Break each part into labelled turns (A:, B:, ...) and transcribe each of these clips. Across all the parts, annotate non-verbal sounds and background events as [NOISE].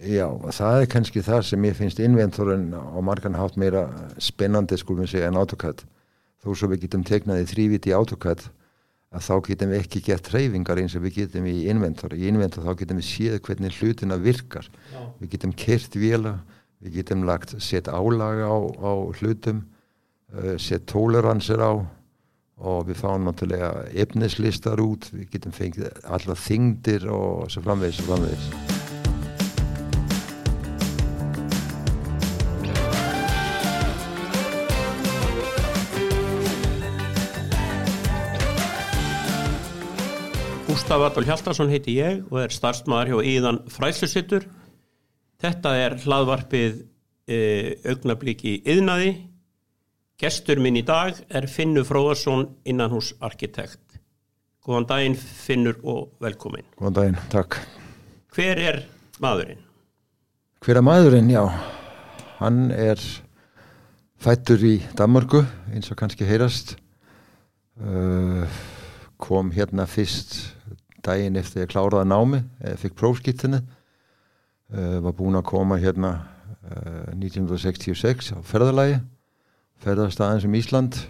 A: Já, það er kannski það sem ég finnst inventorin á margan hátt meira spennandi skulum segja en AutoCAD þó svo við getum tegnað í þrývit í AutoCAD að þá getum við ekki gett treyfingar eins og við getum í inventor í inventor þá getum við séð hvernig hlutina virkar
B: Já.
A: við getum kert vila við getum lagt sett álaga á, á hlutum uh, sett tóleransir á og við fáum náttúrulega efnislistar út, við getum fengið alla þingdir og svo framvegis og framvegis
B: Gustaf Adolf Hjaltarsson heiti ég og er starfsmæður hjá Íðan Fræslusittur. Þetta er hlaðvarpið e, augnablík í yðnaði. Gestur minn í dag er Finnur Fróðarsson innanhús arkitekt. Góðan daginn Finnur og velkomin.
A: Góðan daginn, takk.
B: Hver er maðurinn?
A: Hver er maðurinn? Já, hann er fættur í Danmörku eins og kannski heyrast. Uh, kom hérna fyrst daginn eftir ég kláraði námi, eh, fikk prófskiptinu. Uh, var búinn að koma hérna uh, 1966 á ferðalagi, ferðast aðeins um Ísland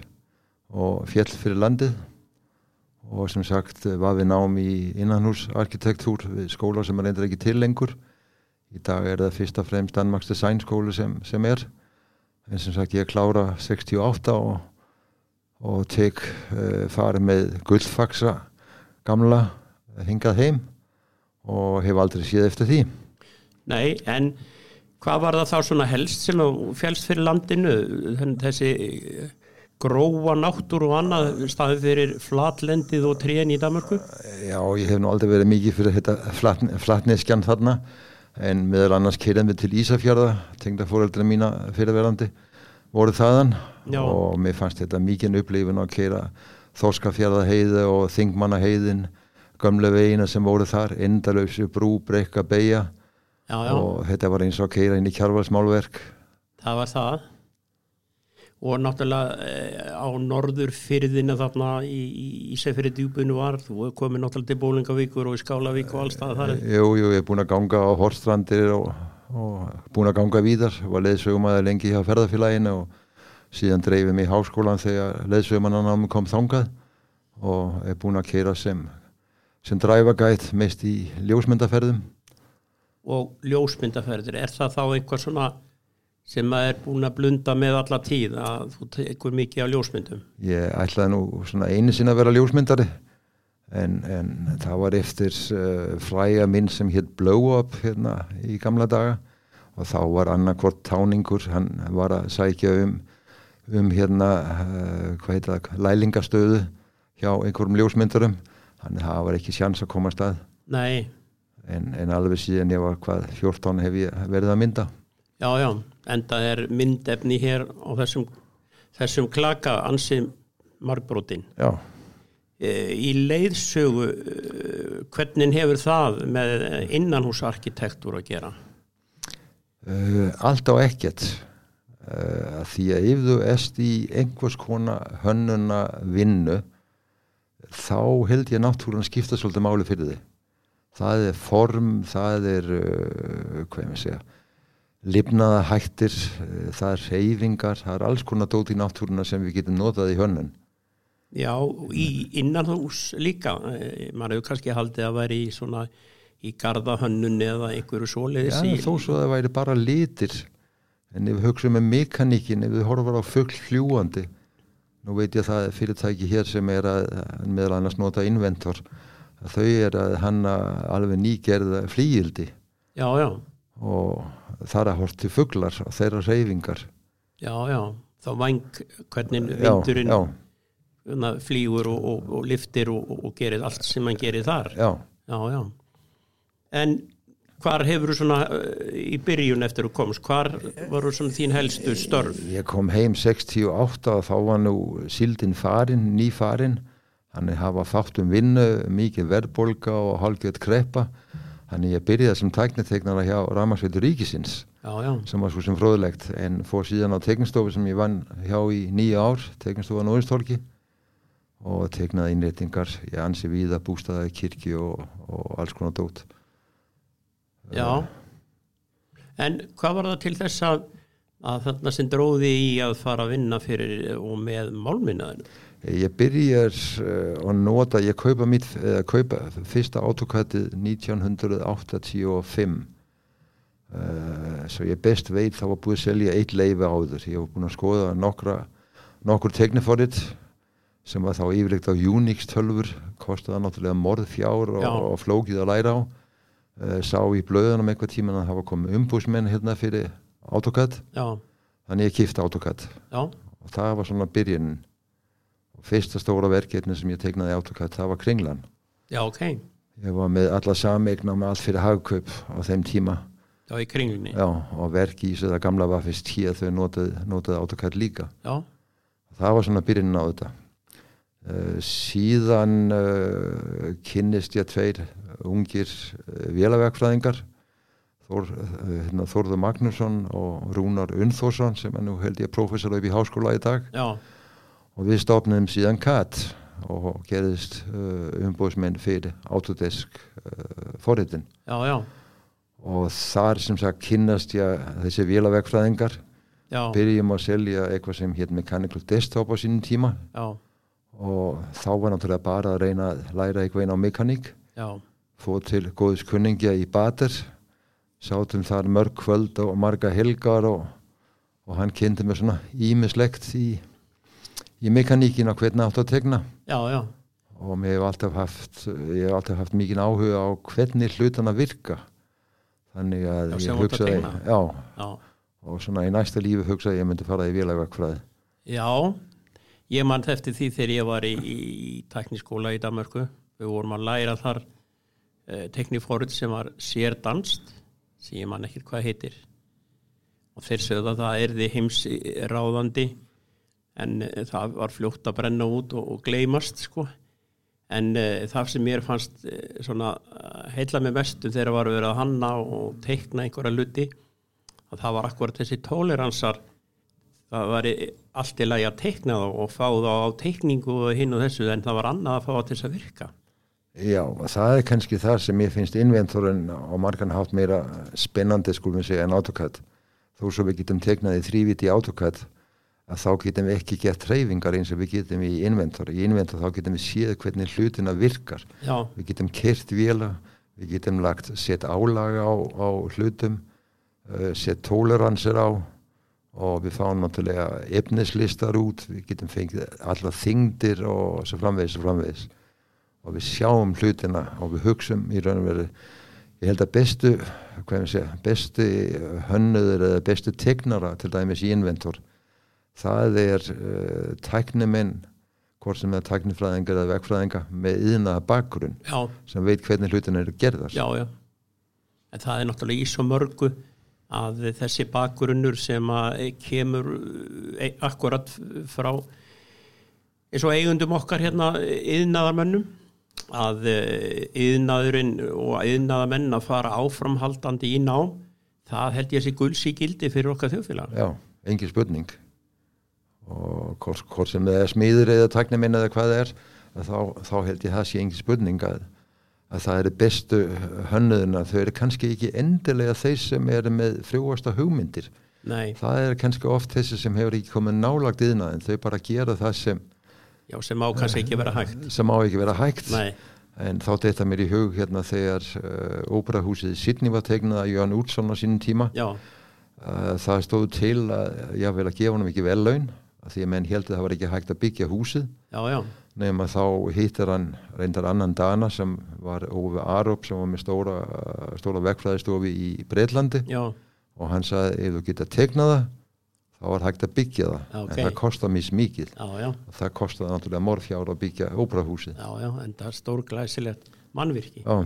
A: og fjell fyrir landið og sem sagt eh, var við nám í innanhúsarkitektúr við skóla sem er reyndar ekki til lengur Í dag er það fyrst og fremst Danmarks Designskóli sem, sem er. En sem sagt ég klára 68 og, og tek uh, farið með gullfaxa gamla hingað heim og hef aldrei séð eftir því.
B: Nei, en hvað var það þá svona helst sem þú fjálst fyrir landinu? Þannig þessi eh, gróa náttúr og annað staðið fyrir flatlendið og trén í Danmörku?
A: Já, ég hef nú aldrei verið mikið fyrir þetta flatn, flatneskjan þarna en meðal annars keirðum við til Ísafjörða, tengda fóreldra mína fyrirverandi voru þaðan
B: Já.
A: og mér fannst þetta mikið upplifin að keira Þorskafjörða heiði og Þingmanna heiðin, gömle veginna sem voru þar, endalöfsu brú, brekka, beigja
B: Já, já.
A: og þetta var eins og að keira inn í kjarvalsmálverk.
B: Það var það og náttúrulega eh, á norður fyrðina þarna í, í, í sefyrir djúbunu var þú komið náttúrulega til Bólingavíkur og í Skálavík og allstað þar
A: Jú, jú, ég er búin að ganga á Horstrandir og, og búin að ganga víðar var leðsögumæður lengi hjá ferðarfélaginu og síðan dreifum í háskólan þegar leðsögumannanámi kom þangað og er búin að keira sem sem dræfagætt mest í ljósmyndaferðum
B: og ljósmyndaferðir er það þá einhvað svona sem maður er búin að blunda með alla tíð að þú tekur mikið af ljósmyndum
A: ég ætlaði nú svona einu sinna að vera ljósmyndari en, en það var eftir uh, fræja minn sem hétt Blow Up hérna í gamla daga og þá var annarkvort táningur hann var að sækja um um hérna uh, hvað heit það, lælingastöðu hjá einhverjum ljósmyndarum hann það var ekki sjans að koma að stað
B: Nei,
A: en, en alveg síðan ég var hvað 14 hef ég verið að mynda
B: já, já en það er myndefni hér á þessum, þessum klaka ansið margbrotin
A: já,
B: Eh, í leiðsögu eh, hvernig hefur það með innanhúsarkitektúr að gera
A: Uh, allt á ekkert uh, að því að ef þú erst í einhvers konar hönnuna vinnu þá held ég náttúrulega skipta svolítið máli fyrir þig það er form, það er uh, hvað ég með segja lifnaða hættir, uh, það er reyfingar, það er alls konar dót í náttúruna sem við getum notað í hönnun
B: já, í innanhús líka Eh, maður hefur kannski haldið að vera í svona í gardahönnun eða einhverju
A: Já,
B: svoleiðis í,
A: þó svo það væri bara litir en ef við hugsaum með mekaníkin ef við horfum á full hljúandi nú veit ég það er fyrirtæki hér sem er að meðal annars nota inventor að þau er að hanna alveg nýgerða flýildi
B: já, já,
A: og það er að hort til fuglar og þeirra reyfingar
B: já, já þá væng hvernig
A: Já,
B: vindurinn
A: já,
B: hérna, flýgur og, og, og liftir og, og- og gerir allt sem hann gerir þar
A: já
B: já, já en hvar hefur þú svona eh, í byrjun eftir þú komst, hvar voru svona þín helstu störf
A: Ég kom heim 68 og þá var nú síldin farin, ný farin. Þannig hafa fátt um vinnu, mikið verðbólga og hálfgjöld kreppa. Þannig ég byrjaði sem tækniteknara hjá Ramarsveitur Ríkisins
B: já, já,
A: sem var svo sem fróðlegt en fór síðan á teiknistofu sem ég vann hjá í nýja ár, teiknistofa Nóðistorki og teiknaði innréttingar ég ansi víða Eh, bústaði kirkju og, og alls konar dót.
B: Já, En hvað var það til þess að, að þarna sem dróði í að fara að vinna fyrir og með málminnaðinu?
A: Ég byrjar eh, að nota, ég kaupa, mitt, eða, kaupa fyrsta autokattið 1985 uh, svo ég best veit þá var búið að selja eitt leifi áður ég var búin að skoða nokkra, nokkur tekniforrit sem var þá yfirleitt á Unix tölfur kostaði náttúrulega morð fjár og,
B: Já.
A: og flókið að læra á uh, sá í blöðunum eitthvað tíma að hafa komið umbúsmenn hérna fyrir autokatt
B: Já,
A: þannig ég kifti autokatt
B: já,
A: og það var svona byrjunin og fyrsta stóra verkefni sem ég tegnaði átokat það var kringlan
B: já, ok.
A: ég var með alla sameigna með allt fyrir hagkaup á þeim tíma
B: Já, í kringlunni.
A: Já, og verk í þessu það gamla var fyrst hér þau notaði, notaði átokat líka
B: Já,
A: það var svona byrjunin á þetta uh, síðan uh, kynnist ég tveir ungir uh, vélaverkfræðingar Þór, uh, hérna, Þórður Magnússon og Rúnar Unnþórsson sem er nú held ég prófessor upp í háskóla í dag
B: já,
A: og við stopnum síðan KAT og gerðist uh, umbóðsmenn fyrir Autodesk uh, forritin
B: já, já,
A: og þar sem sagt kynnast ég þessi vélavegfræðingar
B: já,
A: byrjum að selja eitthvað sem hétt Mechanical Desktop á sínum tíma
B: já,
A: og þá var náttúrulega bara að reyna að læra eitthvað inn á mekaník
B: já,
A: fóð til góðis kunningja í Bater sátum þar mörg kvöld og marga helgar og, og hann kynnti mér svona ímislegt í, í mekaníkina hvernig átt að tegna
B: já, já,
A: og mér hef alltaf haft ég hef alltaf haft mikið áhuga á hvernig hlutana virka þannig að
B: Já, sem
A: ég
B: þú ert að
A: hugsaði
B: teikna.
A: já,
B: já,
A: og svona í næsta lífi hugsaði ég myndi fara í vélagverkfræði
B: já. Ég mann eftir því þegar ég var í, í tekniskóla í Danmarku. Við vorum að læra þar eh, tekniforut sem var sérdanst, sem ég mann ekkert hvað heitir. Og þeir sögðu að það erði heims ráðandi, en eh, það var fljótt að brenna út og, og gleymast, sko. En uh, það sem mér fannst uh, svona heilla með mestu þegar var verið að hanna og teikna einhverja luti að það var akkurat þessi tóleransar það var í- allt í lagi að teikna þá og fá þá á teikningu og hinn og þessu en það var annað að fá það til þess að virka
A: já, og það er kannski það sem ég finnst inventorinn á margan hátt meira spennandi skulum við segja en AutoCAD þó svo við getum tegnað í þrýviti í AutoCAD að þá getum við ekki gett hreyfingar eins og við getum í inventor í inventor þá getum við séð hvernig hlutina virkar
B: Já,
A: við getum kert vila, við getum lagt sett álaga á, á hlutum, uh, sett tóleransir á og við fáum náttúrulega efnislistar út, við getum fengið alla þingdir og svo framvegis og framvegis og við sjáum hlutina og við hugsum í raun og veru ég held að bestu hvað ég segja, bestu hönnuður eða bestu tegnara til dæmis í inventor það er uh, tæknimenn hvort sem er tæknifræðingar eða vegfræðingar með yðna bakgrunn
B: já,
A: sem veit hvernig hlutin eru gerðar
B: já, já En það er náttúrulega í svo mörgu að þessi bakgrunnur sem að kemur eh, akkurat frá eins og eigundum okkar hérna yðnaðarmönnum að eh, yðnaðurinn og yðnaðarmenn að fara áframhaldandi í nám það held ég að sé gulsíkildi fyrir okkar þjóðfélag
A: já engin spurning og hvort, hvort sem það er smíður eða tækniminn eða hvað það er að þá, þá held ég það sé engin spurning að, að það eru bestu hönnuðuna þau eru kannski ekki endilega þeir sem eru með frjóasta hugmyndir
B: Nei,
A: það eru kannski oft þessi sem hefur ekki komið nálagt yðna en þau bara gera það sem,
B: já sem á kannski ekki vera hægt
A: sem á ekki vera hægt
B: Nei,
A: En þá detta mér í hug hérna þegar uh, óperahúsið í Sydney var tegnað að Jón Útsson á sínum tíma.
B: já,
A: Uh, það stóð til að ég vil að gefa honum ekki vel laun af því að menn held að það var ekki hægt að byggja húsið
B: já, já
A: nema þá hittar hann reyndar annan dana sem var Óvi Arup sem var með stóra, uh, stóra vegfræðistofi í Breitlandi
B: Já,
A: og hann sagði ef þú geta tegnað það þá var hægt að byggja það
B: Ok.
A: en það kostar mís mikið
B: já, já,
A: og það kostaði náttúrulega morfjár að byggja óperahúsið.
B: já, já en það er stórglæsilegt mannvirki
A: Já.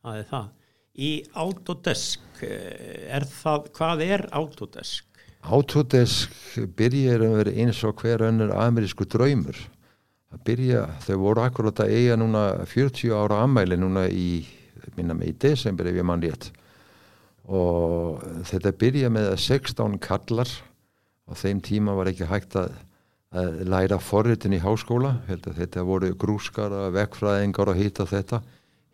B: Það er það. Í Autodesk, eh, er það, hvað er Autodesk?
A: Autodesk byrjar að vera eins og hver önnur amerísku draumur að byrja, þau voru akkurat að eiga núna 40 ára ammæli núna í, minna mig í desember ef ég mann rétt og þetta byrja með að 16 kallar á þeim tíma var ekki hægt að, að læra forritin í háskóla held að þetta voru grúskara, vekkfræðingar og hitt og þetta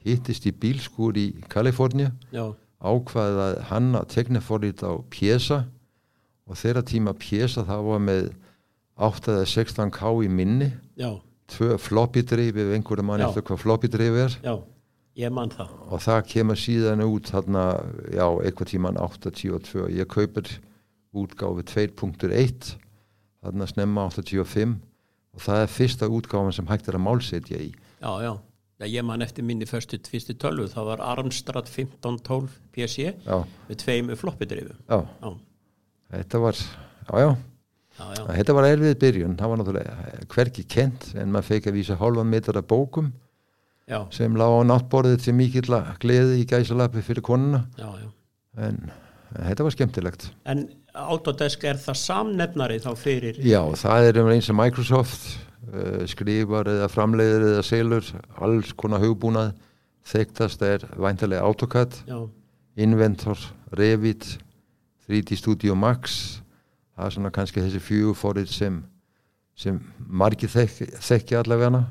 A: hittist í bílskúr í Kaliforníu
B: Já,
A: ákvaðið að hann að tekna fórlít á pjesa og þeirra tíma pjesa það var með 8 eða 16 k í minni
B: já,
A: tvö floppy drive ef einhverja mann
B: Já.
A: eftir hvað floppy drive er
B: já, ég man það
A: og það kemur síðan út þarna, já, eitthvað tíman 82, ég kaupir útgáfi 2.1 þarna snemma 85 og það er fyrsta útgáfan sem hægt er að málsetja í
B: já, já, já, ég man eftir minni fyrstu, fyrstu tölvu, það var Armstrad 1512 PC
A: já,
B: E með tveim floppidrifum
A: já,
B: já,
A: þetta var já, já,
B: já, já,
A: þetta var erfið byrjun það var náttúrulega hverki kent en maður fekk að vísa hálfan metra af bókum
B: já,
A: sem lá á náttborðið til mikill gleði í gæsalappi fyrir konuna
B: já, já.
A: en, en þetta var skemmtilegt
B: en Autodesk er það samnefnari þá fyrir
A: Já, það er um eins og Microsoft uh, skrifar eða framleiðir eða selur, alls konar hugbúnað þekktast er væntalega AutoCAD,
B: já,
A: Inventor Revit, 3D Studio Max, það er svona kannski þessi fjögurforrið sem sem margir þek, þekkja allavegana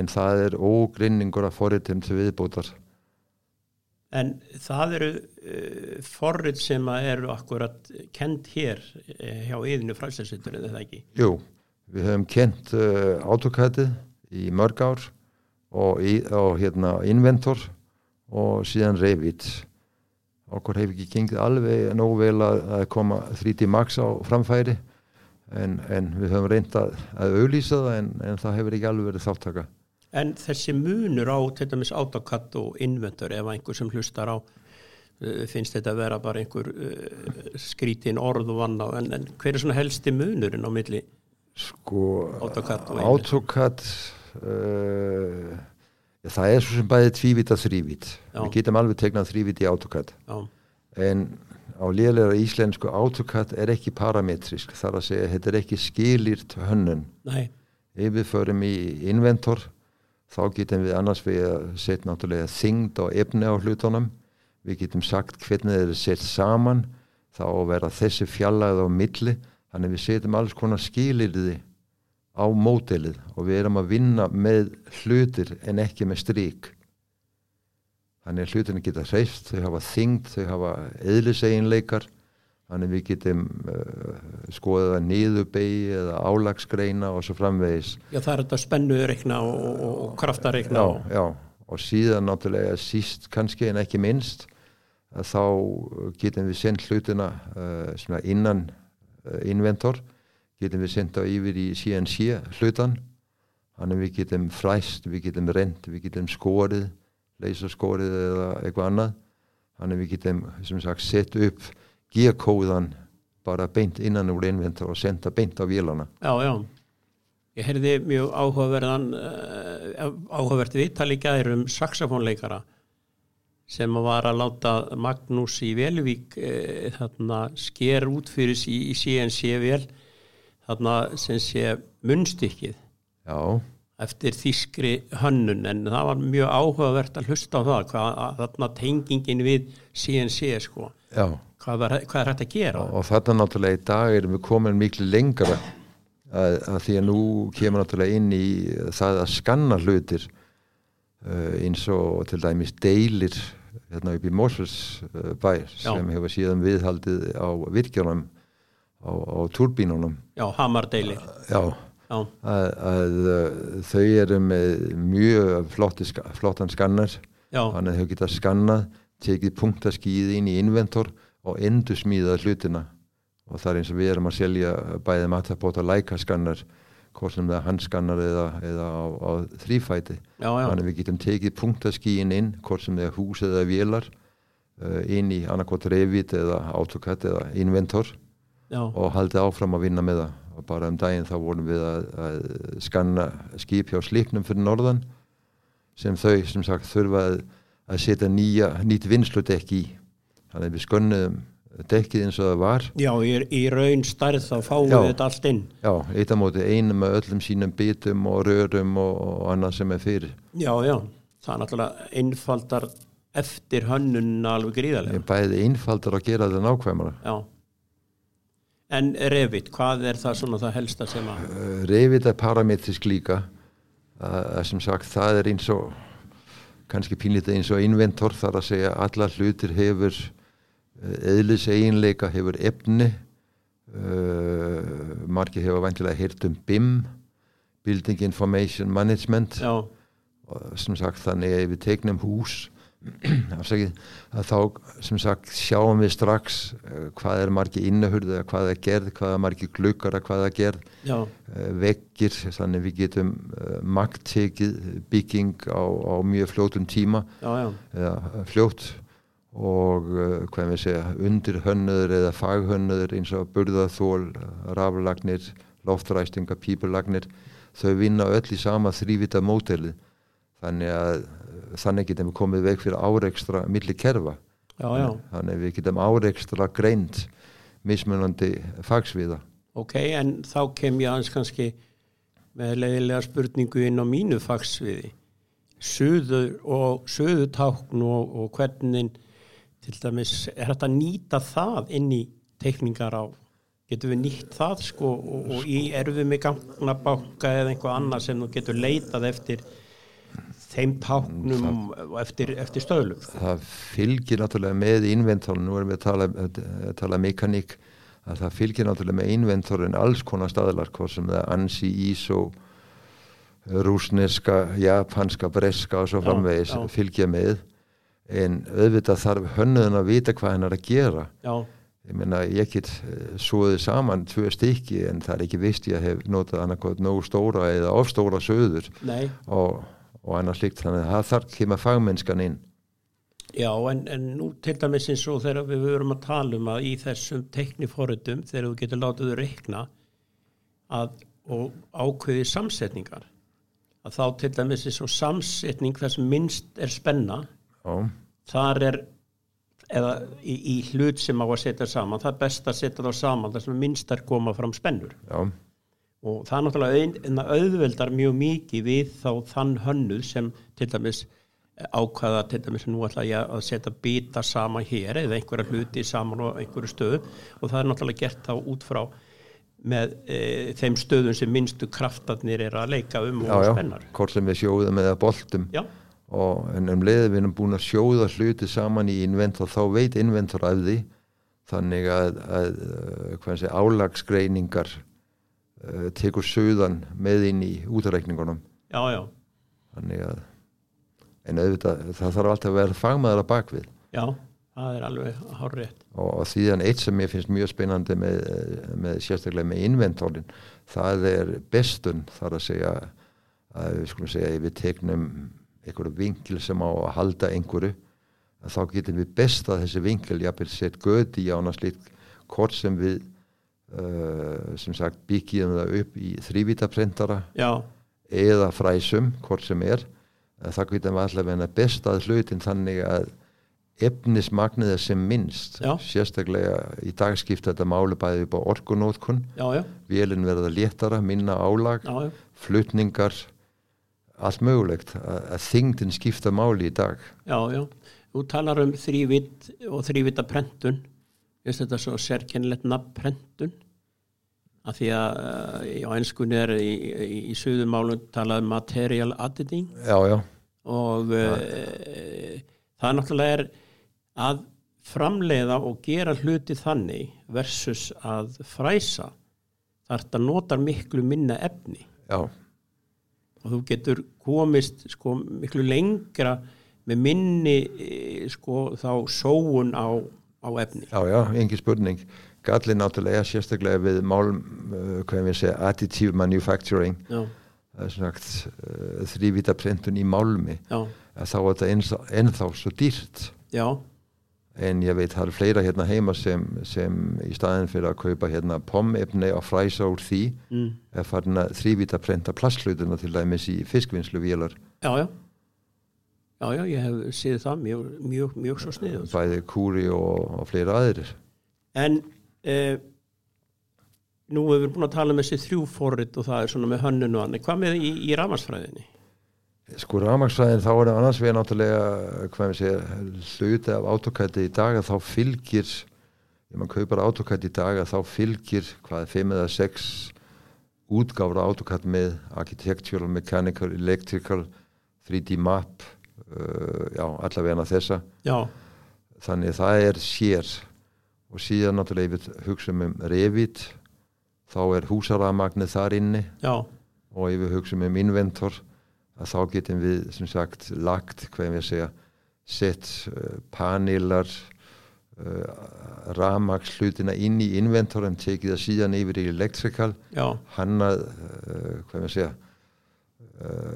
A: en það er ógrinningur af forritum til viðbótar
B: en það eru uh, forrið sem að eru akkurat kend hér uh, hjá yðinu fræsleysittur eða það ekki
A: Jú, við höfum kent uh, AutoCAD-ið í mörg ár og, í, og hérna Inventor og síðan Revit. Okkur hefur ekki gengið alveg nóg vel að, að koma 3D Max á framfæri en, en við höfum reynd að, að auðlýsa það en, en það hefur ekki alveg verið þáttaka.
B: En þessi munur á til dæmis AutoCAD og Inventor ef einhver sem hlustar á eh, finnst þetta að vera bara einhver uh, skrítin orð og vann á en, en hver er svona helsti munurinn á milli
A: Sko,
B: AutoCAD og Inventor?
A: AutoCAD, uh, það er svo sem bæði tvívít að þrívít.
B: Já.
A: Við getum alveg tegnað þrívít í AutoCAD.
B: Já,
A: en á lélega íslensku AutoCAD er ekki parametrisk þar að segja, þetta er ekki skilýrt hönnun
B: nei,
A: ef við förum í inventor þá getum við annars við að setja náttúrulega þyngd og efni á hlutunum við getum sagt hvernig þeir eru sett saman þá á að vera þessi fjallaðið á milli þannig við setjum alls konar skilyrði á mótelið og við erum að vinna með hlutir en ekki með strík þannig að hlutinni geta hreist, þau hafa þyngd, þau hafa eðliseginleikar þannig við getum uh, skoðað að niðurbegi eða álagsgreina og svo framvegis
B: já það er þetta spennureikna og, og, og kraftareikna
A: já,
B: og,
A: já. og síðan náttúrulega síst kannski en ekki minnst að þá uh, getum við sendt hlutina uh, svona innan uh, inventor getum við sendt á yfir í CNC hlutan þannig við getum fræst, við getum rent við getum skorið, leysarskorið eða eitthvað annað þannig við getum sem sagt sett upp G-kóðan bara beint innan úr inventor og senda beint á vélana
B: já, já. Ég heyrði mjög áhugaverðan uh, áhugavert viðtal í gæðir um saxofónleikara sem var að láta Magnús í Velvík uh, þarna, sker út fyrir sí, í CNC vel þarna sem sé munnstykkið
A: já,
B: eftir þýskri hönnun en það var mjög áhugavert að hlusta á það hvað að, þarna tengingin við CNC sko
A: já
B: hvað, var, hvað er hægt að gera
A: og þarna náttúrulega í dag erum við komin miklu lengra að, að því að nú kemur náttúrulega inn í það að skanna hlutir uh, eins og til dæmis deilir hérna upp í Mosfells uh, bær
B: Já.
A: sem hefur síðan viðhaldið á virkjónum á, á turbínunum
B: já, hamardeilir
A: já,
B: já,
A: að, að uh, þau eru með mjög flotti, ska- flottan skannar
B: já,
A: þannig að þau geta skannað, tekið punktaskíði inn í inventor og endur smíðað hlutina og það er eins og við erum að selja bæði matabóta lækaskannar hvort sem það er handskannar eða, eða á, á þrýfæti
B: já, já,
A: þannig að við getum tekið punktaskíin inn hvort sem það er hús eða vélar uh, inn í annarkot revit eða AutoCAD eða inventor
B: já.
A: og haldið áfram að vinna með það og bara um daginn þá vorum við að, að skanna skip hjá slíknum fyrir norðan sem þau sem sagt þurfa að, að setja nýja, nýtt vinsludekki í þannig að við skönnuðum dekkið eins og það var
B: Já, í, í raun stærð þá fáum
A: Já.
B: við þetta allt inn.
A: já, eitt á móti einu með öllum sínum bitum og rörum og, og annað sem er fyrir
B: Já, já, það er náttúrulega einfaldar eftir hönnunna alveg gríðarlega.
A: Ég bæði einfaldar að gera þetta nákvæmara
B: Já. En Revit, hvað er það svona það helsta sem að...
A: Eh, reyfið er parametrisk líka að, að sem sagt það er eins og kannski pínlítið eins og inventor þar að segja alla hlutir hefur eðlis eiginleika hefur efni uh, margir hefur vantilega heyrt um BIM Building Information Management
B: já,
A: og sem sagt þannig ef við teiknum hús [CLEARS THROAT] afsakið, að þá sem sagt sjáum við strax uh, hvað er margi innahurð eða hvað er gerð, hvað er margi glukkar að hvað er gerð,
B: já,
A: uh, veggir þannig við getum uh, magtekið bygging á, á mjög fljótum tíma
B: já, já,
A: eða eh, fljótt og uh, hvað við segja undirhönnuður eða faghönnuður eins og burðaþól, raflagnir loftræstinga, pípulagnir þau vinna öll í sama þrývita mótelið þannig að uh, þannig getum við komið veik fyrir áreikstra milli kerfa
B: já, já,
A: þannig að við getum áreikstra greind mismunandi fagsviða
B: ok, en þá kem ég aðeins kannski með leiðilega spurningu inn á mínu fagsviði suður og suðutákn og, og hvernig til dæmis er þetta að nýta það inn í teikningar á getum við nýtt það sko og, og í erfið með gangnabanka eða einhvað annað sem þú getur leitað eftir þeim táknum og eftir, eftir stöðlum
A: það fylgir náttúrulega með inventorinn, nú erum við að tala, að tala mekaník, að það fylgir náttúrulega með inventorinn alls konar staðlar hvort sem það er ansi, ISO rúsneska, japanska breska og svo
B: Já,
A: framvegis
B: já.
A: fylgja með en auðvitað þarf hönnun að vita hvað hann er að gera
B: já,
A: ég meina ég get eh, svoðið saman tvö stykki en það er ekki vist ég hef notað annarkot nógu stóra eða ofstóra söður
B: nei
A: og, og annars líkt þannig að það þarf kemur fagmennskan inn
B: Já, en, en nú til dæmis eins og þegar við verum að tala um að í þessum tekniforritum þegar þú getur látið þau reikna að, og ákveði samsetningar að þá til dæmis eins og samsetning þess minnst er spenna
A: já
B: þar er eða í, í hlut sem á að setja saman það er best að setja þá saman þar sem minnstar koma fram spennur
A: Já,
B: og það er náttúrulega ein, en það auðveldar mjög mikið við þá þann hönnuð sem til dæmis ákvaða til dæmis nú ætla ég að setja bita sama hér eða einhverja hluti saman á einhverju stöðu og það er náttúrulega gert þá út frá með e, þeim stöðum sem minnstu kraftarnir er að leika um
A: já,
B: og
A: já,
B: spennar
A: hvort sem við sjóðum eða boltum
B: já,
A: og en um leiði við erum búin að sjóða hluti saman í inventor þá veit inventor af því þannig að, að eh, hvað sé, álagsgreiningar uh, tekur söðan með inn í útreikningunum
B: já, já,
A: þannig að en auðvitað, það þarf alltaf að vera fagmaður að bakvið
B: já það er alveg hárrétt
A: og, og síðan eitt sem ég finnst mjög spennandi með, eh, með sérstaklega með inventorin það er bestun þar að segja að við skulum segja ef við tegnum einhverju vinkil sem á að halda einhverju að þá getum við bestað þessi vinkil jafnvel sett göti í ánast lít hvort sem við uh, sem sagt byggjum það upp í þrývítaprentara
B: já,
A: eða fræsum, hvort sem er eh, að það getum við allavega bestað hlutin þannig að efnismagnið er sem minnst
B: Já.
A: sérstaklega í dag skipta þetta máli bæði upp á orkunótkun
B: já, já,
A: vélinn verða léttara, minna álag
B: já, já.
A: flutningar allt mögulegt að, að þingdin skipta máli í dag
B: Já, já, þú talar um þrývitt og þrývita prentun veist þetta svo sérkennilegt nafn prentun að því að eh, á einskunni er í, í, í suðumálum talað um material editing
A: já, já,
B: og uh, það náttúrulega er að framleiða og gera hluti þannig versus að fræsa þar þetta notar miklu minna efni
A: já,
B: og þú getur komist sko, miklu lengra með minni eh, sko, þá sóun á, á efni
A: já, já, engi spurning gallin náttúrulega er sérstaklega við málum, uh, hvað við segja additive manufacturing
B: já,
A: það er sem sagt, uh, þrývita prentun í málmi
B: já,
A: að þá er þetta ennþá, ennþá svo dýrt
B: já,
A: en ég veit það eru fleira hérna heima sem, sem í staðin fyrir að kaupa hérna pommefni og fræsa úr því
B: mm,
A: er farin að þrývita prenta plastlutuna til dæmis í fiskvinnsluvélar
B: já, já já, já, ég hef séð það mjög, mjög, mjög svo sniðum
A: bæði kúri og, og fleira aðrir
B: en eh, nú hefur við búin að tala um þessi þrjú forrit og það er svona með hönnun og annir hvað með í, í rafmarsfræðinni?
A: sko rafmaksfræðin þá er annars við náttúrulega eh, hvað við segja hluti af autokæti í dag að þá fylgir ef maður kaupar autokæti í dag að þá fylgir hvað er 5 eða 6 útgáfra autokæti með architectural, mechanical, electrical 3D map uh, já, allavega þessa
B: já,
A: þannig það er sér og síðan náttúrulega ef við hugsaum um revit þá er húsaramagnið þar inni
B: já,
A: og ef við hugsaum um inventor að þá getum við sem sagt lagt, hvað ég við segja sett uh, panilar uh, ramagslutina inn í inventorum, tekið það síðan yfir í elektrikal,
B: já,
A: hannað uh, hvað ég við segja uh,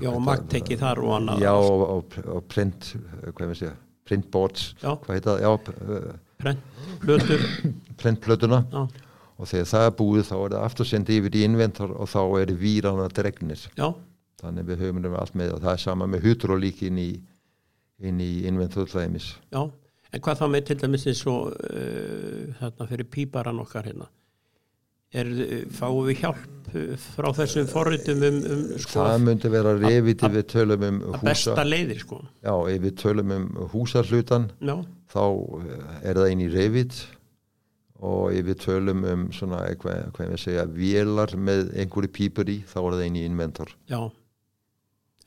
B: já,
A: þetta-
B: magteki þar og annað,
A: já og, og, og print uh, hvað ég við segja, printboards
B: Já.
A: hvað heita það, já, uh,
B: prent, plötur,
A: printplötuna
B: já,
A: og þegar það er búið þá er það aftur sendið yfir í inventor og þá er vírana dregnir
B: já,
A: þannig við höfum við allt með og það er sama með hydrolík inn í, inn í inventor dæmis
B: já, en hvað þá með til dæmis eins og uh, þarna fyrir píparan okkar hérna, er, eh, fáum við hjálp eh, frá þessum forritum um, um sko,
A: það myndi vera revit ef við tölum um
B: að
A: húsa
B: besta leiðir, sko,
A: já, ef við tölum um húsarhlutan
B: já,
A: þá eh, er það inn í revit og ef við tölum um svona eitthvað, hvað við segja, vélar með einhverju pípur í þá er það inn í inventor
B: já,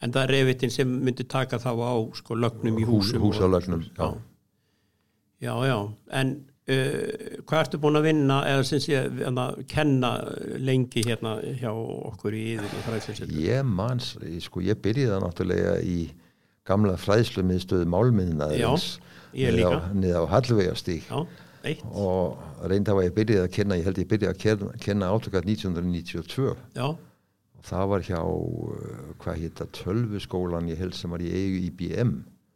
B: en það er reyfitin sem myndi taka þá á, sko, lögnum í húsum og-
A: húsalögnum, já.
B: já, já, en uh, hvað ertu búin að vinna eða sem sé að kenna lengi hérna hjá okkur í yður og fræðsinsettur?
A: Ég manns, sko ég byrjaði náttúrulega í gamla fræðslumiðstöðu málmiðnaðurins
B: ég líka.
A: niður á Hallvegastík
B: Já, eitt,
A: og reynda var ég byrjaði að kenna, ég held ég byrjaði að kenna, kenna átökat 1992
B: já,
A: og það var hjá, uh, hvað hétta, tölvuskólan ég held sem var í eigu IBM,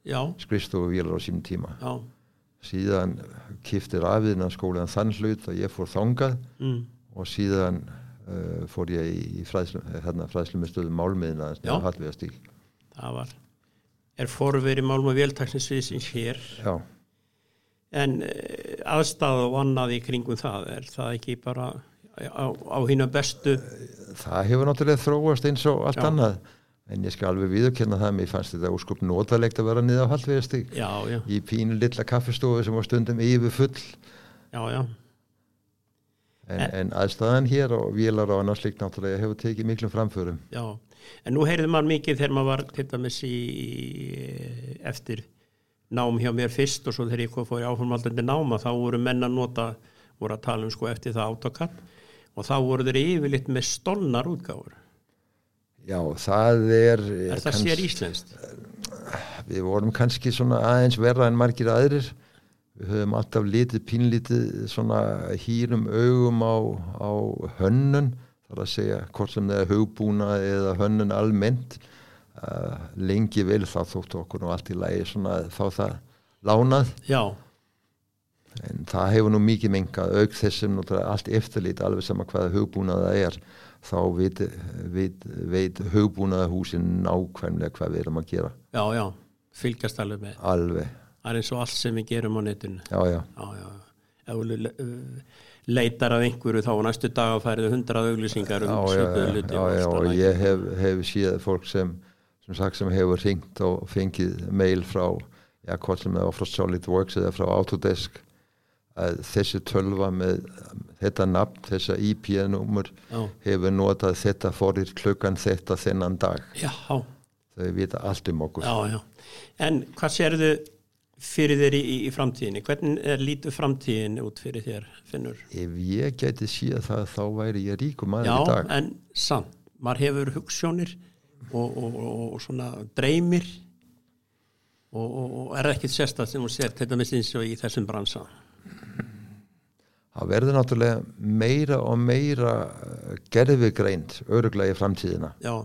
B: já,
A: skrifstofu á sínum tíma.
B: já,
A: Síðan kifti rafiðina skólan þann hlut að ég fór þangað
B: mm,
A: og síðan uh, fór ég í fræðslu, hérna, fræðslumiðstöðu málmiðnaðurins
B: Já.
A: niður á Hallvegastík.
B: það var. Er forveri málma véltaksninsviðsins hér
A: Já.
B: en uh, aðstæða og annað í kringum það, er það ekki bara á, á hínu bestu?
A: það hefur náttúrulega þróast eins og allt
B: Já.
A: annað en ég skal alveg viðurkenna það mér fannst þetta úrskup notalegt að vera niður á Hallvegastík
B: Já, já,
A: í pínu lilla kaffestofu sem var stundum yfir full
B: já, já,
A: en, en aðstæðan hér og vélar á annars líkt náttúrulega hefur tekið miklum framförum
B: já. En nú heyrði maður mikið þegar maður var til dæmis í, eh, eftir nám hjá mér fyrst og svo þegar ég kom- fór í áformaldandi náma þá voru menn að nota, voru að tala um sko eftir það autokatt og þá voru þeir yfirleitt með stolnar útgáfur.
A: já það er, eh,
B: Er það sér íslenskt?
A: við vorum kannski svona aðeins verra en margir aðrir við höfum alltaf litið pínlítið svona hýrum augum á, á hönnun þar að segja hvort sem það er hugbúna eða hönnun almennt uh, lengi vel þá þóttu okkur og allt í lagi svona að fá það lánað
B: Já,
A: en það hefur nú mikið mengað auk þessum náttúrulega allt eftirlit alveg sama hvaða hugbúnað það er þá veit, veit, veit hugbúnaðahúsin nákvæmlega hvað við erum að gera
B: já, já, fylgjast alveg með.
A: alveg,
B: Það er eins og allt sem við gerum á netinu.
A: já já
B: Já, já, já. Ef þú le- uh, leitar að einhverju þá á næstu dag að færið hundrað auglýsingar um
A: já, já,
B: svipuðu hluti.
A: já, já,
B: alls
A: og
B: staðar.
A: ég hef, hef síðan fólk sem sem sagt sem hefur ringt og fengið mail frá, já, hvort sem það var frá SolidWorks eða frá Autodesk að þessi tölva með þetta nafn, þessa IP-númur
B: Já.
A: hefur notað þetta fórir klukkan þetta þennan dag
B: já,
A: þau vita allt um okkur
B: Já, já. En hvað sérðu fyrir þér í, í, í framtíðinni? Hvernig er lítur framtíðin út fyrir þér, Finnur?
A: ef ég gæti síðan það þá væri ég ríkum maður
B: Já,
A: í dag
B: en samt, maður hefur hugsjónir og, og, og, og svona dreymir og, og, og er ekkert sérstætt sem hún sér til dæmis eins og í þessum bransa.
A: það verður náttúrulega meira og meira gerfigreind öruglega í framtíðina
B: Já,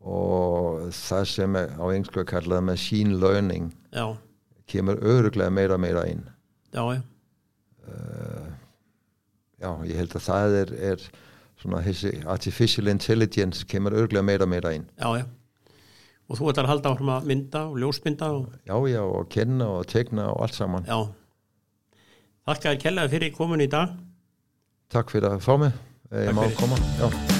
A: og það sem er á englsku að kalla það machine learning
B: já,
A: kemur öruglega meira og meira inn Eh,
B: já, já,
A: já, ég held að það er, er svona þessi artificial intelligence kemur öruglega meira og meira inn
B: já, já. Og þú ætlar að halda áfram að mynda og ljósmynda og
A: já, já, og kenna og tegna og allt saman
B: já. Þakka þér kellaði fyrir komin í dag.
A: takk fyrir að fá mig, Eh,
B: Takk
A: ég má
B: fyrir.
A: koma já